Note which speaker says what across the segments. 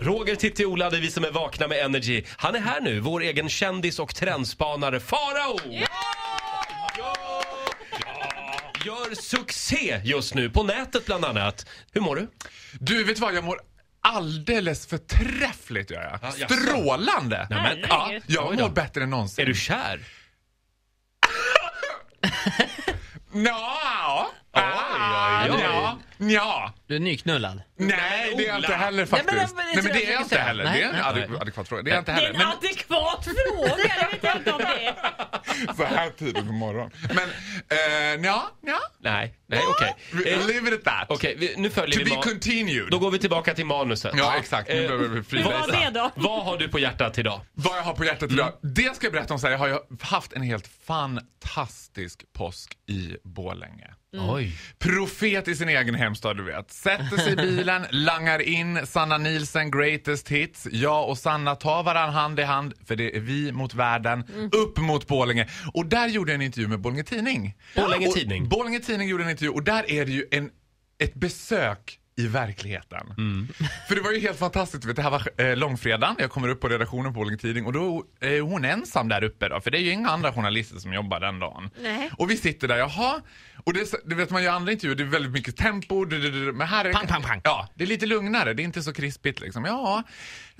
Speaker 1: Roger Tittiola, det är vi som är vakna med Energy. Han är här nu, vår egen kändis och trendspanare Farao! Ja! Gör succé just nu, på nätet bland annat. Hur mår du?
Speaker 2: Du, vet du vad? Jag mår alldeles förträffligt gör jag.
Speaker 1: Ja, jaså.
Speaker 2: Strålande!
Speaker 1: men-
Speaker 2: ja,
Speaker 3: Herregud.
Speaker 2: jag
Speaker 1: Oj då.
Speaker 2: mår bättre än någonsin.
Speaker 1: Är du kär?
Speaker 2: Nja.
Speaker 1: oj, oj.
Speaker 2: Nja. Nja.
Speaker 4: Du är nyknullad.
Speaker 2: Nej, det är jag inte
Speaker 1: Ola.
Speaker 2: heller
Speaker 4: men-
Speaker 2: faktiskt. Nej,
Speaker 4: men-
Speaker 2: men, det är jag inte heller. Det
Speaker 4: Nej,
Speaker 2: är en
Speaker 4: nej.
Speaker 2: adek- adekvat fråga. Det är jag inte
Speaker 3: Det är
Speaker 2: heller.
Speaker 3: en
Speaker 2: Men
Speaker 3: adekvat fråga, det vet jag inte om det är.
Speaker 2: så här tidigt på morgonen. Men eh, nja, nja.
Speaker 1: Nej, nej okej.
Speaker 2: Vi-
Speaker 1: Eh,
Speaker 2: Leave it at that.
Speaker 1: Okej, vi- nu
Speaker 2: To
Speaker 1: följer vi...
Speaker 2: be
Speaker 1: ma-
Speaker 2: continued.
Speaker 1: Då går vi tillbaka till manuset.
Speaker 2: Ja, exakt. Nu
Speaker 1: Eh,
Speaker 2: behöver vi
Speaker 3: Hur
Speaker 2: freebase.
Speaker 3: var det då?
Speaker 1: Vad har du på hjärtat idag?
Speaker 2: Vad jag har på hjärtat idag.
Speaker 1: Mm.
Speaker 2: Det ska jag berätta om. Så här, jag har ju haft en helt fantastisk påsk i Borlänge.
Speaker 1: Mm.
Speaker 4: Oj.
Speaker 2: Profet i sin egen hemstad, du vet. Sätter sig i bilen, langar in Sanna Nielsen greatest hits. Jag och Sanna tar varann hand i hand, för det är vi mot världen,
Speaker 1: Mm.
Speaker 2: upp mot Borlänge. Och där gjorde jag en intervju med Borlänge Tidning.
Speaker 1: Borlänge
Speaker 2: Och
Speaker 1: Tidning.
Speaker 2: Borlänge Tidning gjorde en intervju och där är det ju en, ett besök i verkligheten.
Speaker 1: Mm.
Speaker 2: För det var ju helt fantastiskt. Vet, du, det här var eh, långfredagen. Jag kommer upp på redaktionen på Borlänge Tidning och då är hon ensam där uppe. Då, för det är ju inga andra journalister som jobbar den dagen.
Speaker 3: Nej.
Speaker 2: Och vi sitter där, jaha. Och det, är så- du vet, man gör andra intervjuer, det är väldigt mycket tempo. Du, du, du, du, men här är,
Speaker 4: Pang, pang, pang.
Speaker 2: Ja, det är lite lugnare. Det är inte så krispigt liksom. Ja,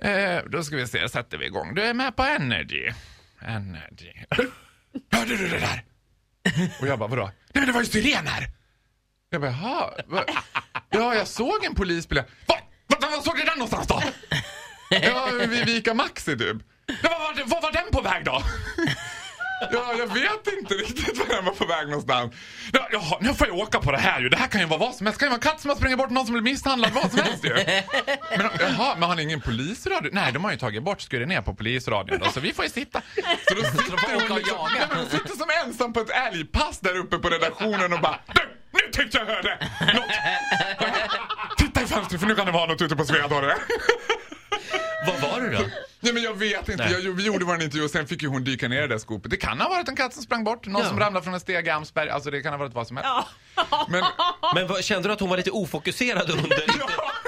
Speaker 2: eh, då ska vi se, sätter vi igång. Du är med på Energy. Energy. Hörde du det där? Och jag bara, vadå? Nej men det var ju sirener! Jag bara, jaha. va- Ja, jag såg en polisbil. Va? Va? va- Var såg du den någonstans då? Ja, vid Vika Maxi typ. Ja, vad var, vad var den på väg då? Ja, jag vet inte riktigt var den var på väg någonstans. Ja, jaha, nu får jag åka på det här ju. Det här kan ju vara vad som helst. Det kan ju vara en katt som har sprungit bort någon som blir misshandlad, vad som helst ju. Men jaha, men har ni ingen polisradio? Nej, de har ju tagit bort, skurit ner på polisradion då, så vi får ju sitta. Så då sitter hon
Speaker 4: åka och
Speaker 2: liksom,
Speaker 4: jaga.
Speaker 2: nej, men hon sitter som ensam på ett älgpass där uppe på redaktionen och bara Du! Nu tyckte jag hörde något! Titta i fönstret för nu kan det vara något ute på Sveadorre.
Speaker 1: Vad var det då?
Speaker 2: Nej men jag vet inte,
Speaker 1: Nej.
Speaker 2: jag, vi gjorde vår intervju och sen fick ju hon dyka ner i det där skopet. Det kan ha varit en katt som sprang bort, någon
Speaker 1: Ja.
Speaker 2: som ramlade från en stege i Amsberg, alltså det kan ha varit vad som helst.
Speaker 3: Ja.
Speaker 2: Men,
Speaker 1: Men vad, kände du att hon var lite ofokuserad under...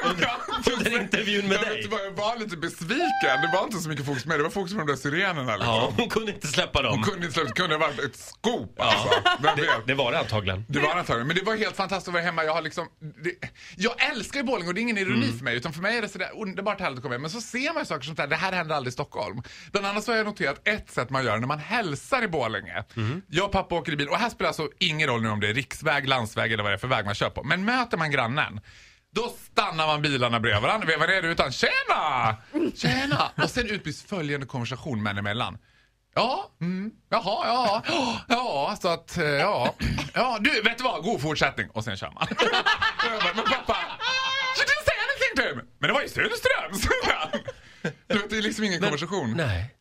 Speaker 1: under intervjun med
Speaker 2: jag
Speaker 1: dig.
Speaker 2: Vet, inte vad, jag var lite besviken, det var inte så mycket fokus med det var fokus på de där sirenerna liksom.
Speaker 1: Ja, hon kunde inte släppa dem.
Speaker 2: Hon kunde inte släppa, kunde ha varit ett skop alltså. Vem vet?
Speaker 1: Det var det antagligen.
Speaker 2: Det var antagligen, men det var helt fantastiskt att vara hemma. Jag, har liksom, det, jag älskar ju bowling och det är ingen ironi för mig. Utan för mig är det sådär underbart härligt att komma hem. Men så ser man ju saker sånt där, det här händer aldrig i Stockholm. Bland annat så har jag noterat ett sätt man gör när man hälsar i Borlänge. Jag och pappa åker i bil och här spelar alltså ingen roll nu om det är riksväg, landsväg eller vad det är för väg man kör på. Men möter man grannen då stannar man bilarna bredvid varandra, vevar ner utan Tjena! Tjena! Och sen utbyts följande konversation män emellan. Ja, mm, jaha, ja, ja, så att, eh, ja, ja, du, vet du vad, god fortsättning. Och sen kör man. Jag bara, Men pappa, you didn't say anything to him. Men det var ju Sundström, sa han. Du vet, det är liksom ingen konversation.
Speaker 1: Nej.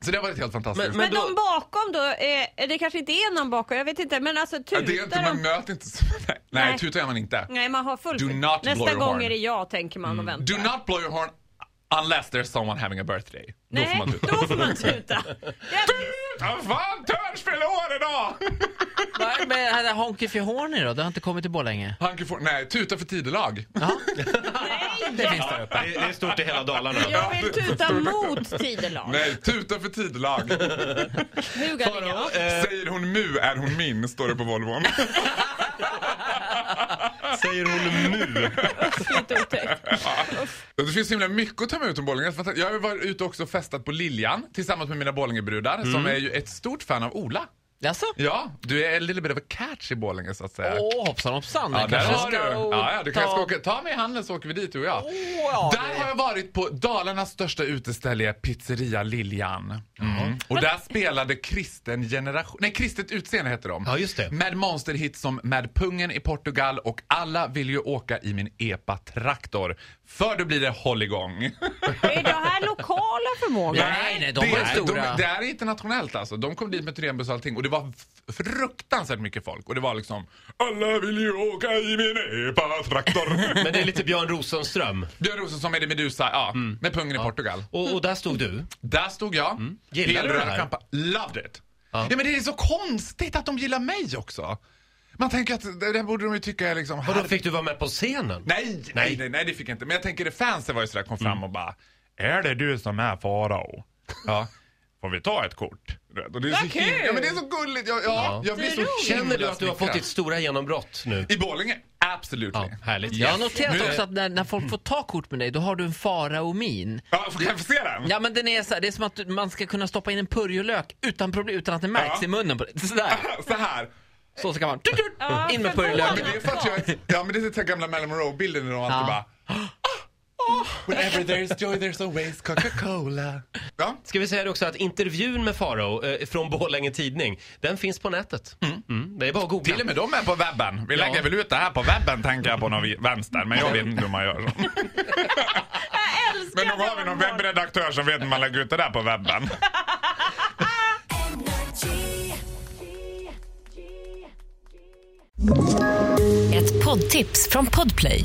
Speaker 2: Så det har varit helt fantastiskt.
Speaker 1: Men-
Speaker 3: Men
Speaker 1: då-
Speaker 3: de bakom då, eh, det kanske inte är någon bakom, jag vet inte, men alltså
Speaker 2: Ja,
Speaker 3: tutar
Speaker 2: det är inte, man
Speaker 3: de?
Speaker 2: möter inte så- Nej, nej
Speaker 3: Nej.
Speaker 2: tutar gör man inte.
Speaker 3: Nej, man har fullt
Speaker 2: Do not blow
Speaker 3: Nästa
Speaker 2: your
Speaker 3: gång
Speaker 2: horn. Mm.
Speaker 3: är det jag, tänker man och väntar.
Speaker 2: Do not blow your horn unless there's someone having a birthday.
Speaker 3: Nej,
Speaker 2: Då får man tuta.
Speaker 3: då får man tuta. Jävligt.
Speaker 2: Ja, fan, Törns fyller år idag!
Speaker 4: Vad med det här Honky för Horny då? Det har inte kommit till Borlänge.
Speaker 2: Hanke får, nej, tuta för tidelag.
Speaker 3: Nej,
Speaker 1: Det, det är stort i hela Dalarna.
Speaker 3: jag vill tuta mot tidelag.
Speaker 2: Nej, tuta för tidelag.
Speaker 3: Huga
Speaker 1: Farao,
Speaker 3: ligga.
Speaker 1: eh,
Speaker 2: Säger hon mu är hon min, står det på Volvon.
Speaker 1: säger hon nu.
Speaker 3: Fint otäckt.
Speaker 2: Det finns så himla mycket att ta med ut om Borlänge. Jag har ju varit ute också och festat på Liljan tillsammans med mina Borlängebrudar som är ju ett stort fan av Ola.
Speaker 4: Jaså?
Speaker 2: Ja, du är en liten bit av a catch i Borlänge så att säga.
Speaker 4: Åh, hoppsan hoppsan.
Speaker 2: Ja,
Speaker 4: Jag
Speaker 2: där
Speaker 4: kanske
Speaker 2: har du.
Speaker 4: ska
Speaker 2: Ja, ja, du
Speaker 4: ta-
Speaker 2: kanske ska åka. Ta mig i handen så åker vi dit du och jag.
Speaker 4: Åh, ja,
Speaker 2: Där
Speaker 4: det-
Speaker 2: har jag varit på Dalarnas största uteställe, Pizzeria Liljan. Mm. Och där spelade Kristen generation, nej Kristet utseende heter de.
Speaker 1: Ja, just det.
Speaker 2: Med monsterhits som Med pungen i Portugal och Alla vill ju åka i min EPA-traktor. För då blir det hålligång.
Speaker 3: Är det här lokala förmågor?
Speaker 4: Nej, nej, de var ju
Speaker 2: det,
Speaker 4: stora.
Speaker 2: De, det är internationellt alltså. De kom dit med turnébuss och allting och det var f- fruktansvärt mycket folk. Och det var liksom Alla vill ju åka i min EPA-traktor.
Speaker 1: Men det är lite Björn Rosenström.
Speaker 2: Björn Rosenström med det Medusa, ja.
Speaker 1: Mm.
Speaker 2: Med pungen i Portugal.
Speaker 1: Och, och där stod du.
Speaker 2: Där stod jag.
Speaker 1: Mm. Gillar du
Speaker 2: Helröd
Speaker 1: det här?
Speaker 2: kampa- Loved it! Ja. men det är så konstigt att de gillar mig också. Man tänker att det, det borde de ju tycka är liksom...
Speaker 1: Vadå,
Speaker 2: herre-
Speaker 1: fick du vara med på scenen?
Speaker 2: Nej, nej, nej, nej, det fick jag inte. Men jag tänker det fansen var ju sådär, kom fram
Speaker 1: Mm.
Speaker 2: och bara Är det du som är farao? Ja. Får vi ta ett kort? Och det är så
Speaker 5: Vad kul!
Speaker 2: himla- Ja men det är så gulligt. Jag, ja,
Speaker 1: Ja.
Speaker 2: jag blir
Speaker 5: Det är
Speaker 2: så
Speaker 5: roligt.
Speaker 2: himla
Speaker 1: Känner du att du har fått
Speaker 2: smickrad.
Speaker 1: ditt stora genombrott nu?
Speaker 2: I Borlänge? Absolut.
Speaker 1: Ja, härligt.
Speaker 4: Jag har
Speaker 1: Yes.
Speaker 4: noterat
Speaker 2: Nu-
Speaker 4: också att när, när folk får ta kort med dig, då har du en faraomin.
Speaker 2: Ja, får- kan jag få se den?
Speaker 4: Ja men den är så här, det är som att du- man ska kunna stoppa in en purjolök utan problem, utan att det märks
Speaker 2: Ja.
Speaker 4: i munnen på dig. Sådär,
Speaker 2: Så här.
Speaker 4: så ska man. Tut, tut,
Speaker 5: Ja,
Speaker 4: in med
Speaker 5: förvånad.
Speaker 2: Men
Speaker 4: purjolöken.
Speaker 2: det är för att jag, ja men det är den gamla Marilyn Monroe-bilden när de alltid bara
Speaker 4: Ja.
Speaker 2: Whenever there's joy there's always Coca-Cola. Ja,
Speaker 1: Ska vi säga det också att intervjun med Farao eh, från Borlänge Tidning, den finns på nätet. Mm, det är bara att googla.
Speaker 2: till och med de är på webben. Vi
Speaker 1: Ja.
Speaker 2: lägger väl ut det här på webben tänker jag på någon vi- vänster, men jag vet inte hur man gör så.
Speaker 5: Jag älskar
Speaker 2: Men nog har vi någon webbredaktör som vet hur man lägger ut det där på webben.
Speaker 3: Ett poddtips från Podplay.